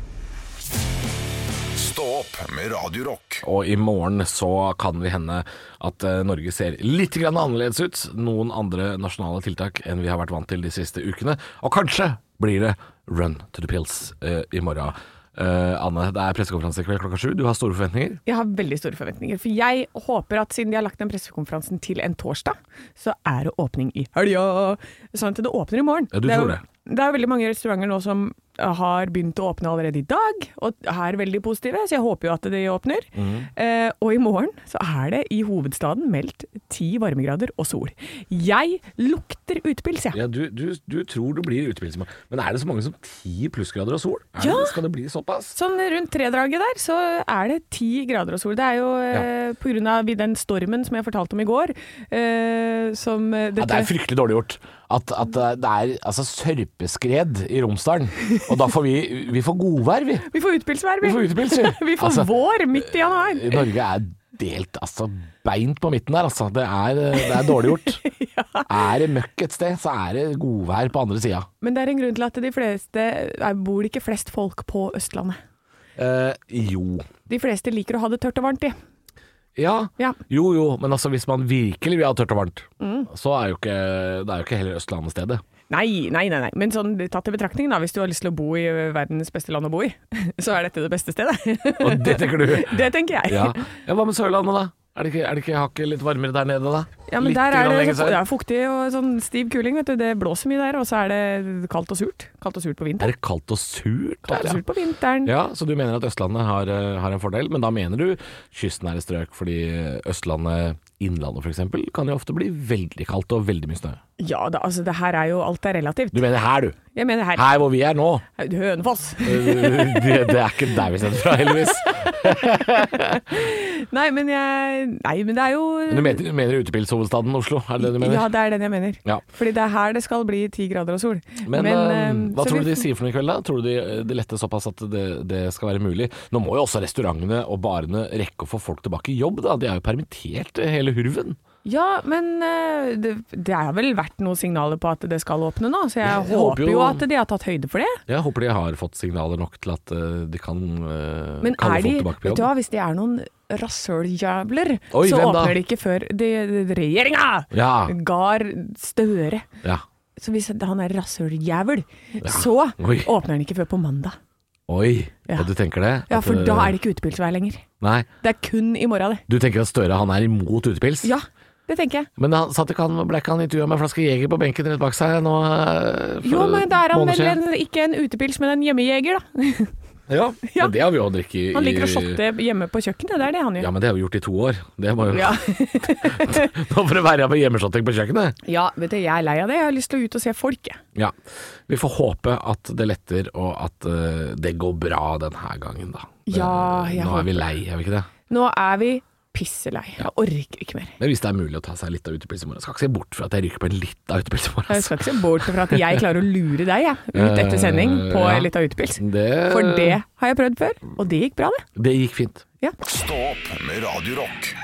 Speaker 2: Stå opp med Radio Rock.
Speaker 4: Og i morgen så kan det hende at eh, Norge ser litt grann annerledes ut. Noen andre nasjonale tiltak enn vi har vært vant til de siste ukene. Og kanskje blir det run to the pills eh, i morgen. Eh, Anne, det er pressekonferanse i kveld klokka sju. Du har store forventninger.
Speaker 3: Jeg har veldig store forventninger. For jeg håper at siden de har lagt den pressekonferansen til en torsdag, så er det åpning i helga. Sånn at det åpner i morgen.
Speaker 4: Ja, du
Speaker 3: er
Speaker 4: tror
Speaker 3: jo-
Speaker 4: det.
Speaker 3: Det er veldig mange restauranter nå som har begynt å åpne allerede i dag, og er veldig positive, så jeg håper jo at de åpner.
Speaker 4: Mhm.
Speaker 3: Eh, og i morgen så er det i hovedstaden meldt ti varmegrader og sol. Jeg lukter utepils, jeg.
Speaker 4: Ja, du, du, du tror du blir utepils i morgen. Men er det så mange som ti plussgrader og sol? Er
Speaker 3: Ja.
Speaker 4: det, skal det bli såpass?
Speaker 3: Sånn rundt tredraget der, så er det ti grader og sol. Det er jo eh, på grunn av den stormen som jeg fortalte om i går, eh, som eh,
Speaker 4: Ja, det er fryktelig dårlig gjort. At, at det er altså, sørpeskred i Romsdalen. Og da får vi, vi får godvær, vi.
Speaker 3: Vi får utepilsvær, vi.
Speaker 4: Vi får utepils, vi.
Speaker 3: Vi får
Speaker 4: Altså,
Speaker 3: vår midt i januar.
Speaker 4: Norge er delt altså, beint på midten der, altså. Det er, eh, det er dårlig gjort. Er det møkk et sted, så er det godvær på andre sida.
Speaker 3: Men det er en grunn til at de fleste nei, bor det ikke flest folk på Østlandet.
Speaker 4: Eh, jo.
Speaker 3: De fleste liker å ha det tørt og varmt, de.
Speaker 4: Ja.
Speaker 3: Ja. Mm.
Speaker 4: Jo, jo, men altså hvis man virkelig vil ha tørt og varmt, så er jo ikke, det er jo ikke heller Østlandet stedet.
Speaker 3: Nei, nei, nei, nei. men sånn tatt i betraktning, da, hvis du har lyst til å bo i ø, verdens beste land å bo i, så er dette det beste stedet.
Speaker 4: Og det tenker du?
Speaker 3: Det tenker jeg.
Speaker 4: Ja. ja hva med Sørlandet, da? Er det ikke, er det ikke hakket litt varmere der nede, da?
Speaker 3: Ja, men
Speaker 4: litt
Speaker 3: der er
Speaker 4: grann
Speaker 3: det,
Speaker 4: lenger
Speaker 3: så,
Speaker 4: sør?
Speaker 3: det er fuktig og sånn stiv kuling, vet du. Det blåser mye der, og så er det kaldt og surt. Kaldt og surt på vinteren.
Speaker 4: Er det kaldt og surt
Speaker 3: Kaldt og
Speaker 4: der, ja?
Speaker 3: surt på vinteren.
Speaker 4: Ja, så du mener at Østlandet har, eh, har en fordel, men da mener du kystnære strøk, fordi Østlandet, Innlandet f.eks., kan jo ofte bli veldig kaldt og veldig mye snø.
Speaker 3: Ja, da, altså det her er jo alt er relativt.
Speaker 4: Du mener her, du.
Speaker 3: Jeg mener her,
Speaker 4: Her hvor vi er nå.
Speaker 3: Hønefoss.
Speaker 4: Det, det er ikke der vi sender fra, heldigvis.
Speaker 3: Nei, men jeg Nei, men det er jo
Speaker 4: Men Du mener, du mener utepilshovedstaden Oslo, er det det du mener?
Speaker 3: Ja, det er den jeg mener.
Speaker 4: Ja.
Speaker 3: Fordi det er her det skal bli ti grader og sol.
Speaker 4: Men, eh,
Speaker 3: eh,
Speaker 4: hva
Speaker 3: så
Speaker 4: tror du
Speaker 3: vi-
Speaker 4: de sier for noe i kveld, da? Tror du de, de letter såpass at det, det skal være mulig? Nå må jo også restaurantene og barene rekke å få folk tilbake i jobb, da. De er jo permittert, eh, hele hurven.
Speaker 3: Ja, men eh, det, det har vel vært noen signaler på at det skal åpne nå, så jeg,
Speaker 4: Ja, jeg håper
Speaker 3: håper jo
Speaker 4: jo-
Speaker 3: at de har tatt høyde for det.
Speaker 4: Jeg håper de har fått signaler nok til at eh, de kan eh,
Speaker 3: Men
Speaker 4: kalle
Speaker 3: er de,
Speaker 4: folk tilbake på
Speaker 3: vet du
Speaker 4: jobb.
Speaker 3: hva, hvis de er noen rasshøljævler,
Speaker 4: Oi,
Speaker 3: så
Speaker 4: hvem da?
Speaker 3: åpner de ikke før de, de, regjeringa!
Speaker 4: Ja.
Speaker 3: Gahr Støre.
Speaker 4: Ja.
Speaker 3: Så hvis han er rasshøljævel, så
Speaker 4: Oi.
Speaker 3: åpner han ikke før på mandag.
Speaker 4: Oi,
Speaker 3: Ja.
Speaker 4: ja. du tenker det?
Speaker 3: Ja,
Speaker 4: At,
Speaker 3: for da
Speaker 4: eh,
Speaker 3: er det ikke utepilsvær lenger.
Speaker 4: Nei,
Speaker 3: Det er kun i morgen, det.
Speaker 4: du tenker at Støre han er imot utepils?
Speaker 3: Ja, det tenker jeg.
Speaker 4: Men han satt ikke han, ble ikke han intervjua med en flaske Jeger på benken rett bak seg nå? eh, for
Speaker 3: Jo, men da er han
Speaker 4: måneder
Speaker 3: vel
Speaker 4: siden?
Speaker 3: en, ikke en utepils, men en hjemmejeger, da.
Speaker 4: Ja,
Speaker 3: Ja.
Speaker 4: men det har vi jo drukket i
Speaker 3: Han liker å shotte hjemme på kjøkkenet, det er det han
Speaker 4: Ja,
Speaker 3: gjør.
Speaker 4: men det har vi gjort i to år. Det var jo
Speaker 3: Ja.
Speaker 4: Nå får det være med hjemmeshotting på kjøkkenet.
Speaker 3: ja, vet du, jeg er lei av det. Jeg har lyst til å ut og se folk, jeg.
Speaker 4: Ja. Vi får håpe at det letter, og at eh, det går bra denne gangen, da. Det-
Speaker 3: Ja, jeg
Speaker 4: Nå er vi
Speaker 3: håper.
Speaker 4: lei, er vi ikke det?
Speaker 3: Nå er vi pisselei. Jeg orker ikke mer.
Speaker 4: Men hvis det er mulig å ta seg litt av utepils i morgen, skal ikke se bort fra at jeg ryker på en litt av utepils i morgen.
Speaker 3: Jeg
Speaker 4: altså.
Speaker 3: skal ikke se bort fra at jeg klarer å lure deg jeg, ut etter sending på
Speaker 4: Eh, ja.
Speaker 3: litt av utepils.
Speaker 4: Det-
Speaker 3: For det har jeg prøvd før, og det gikk bra, det.
Speaker 4: Det gikk fint.
Speaker 2: Stå opp med Radio Rock.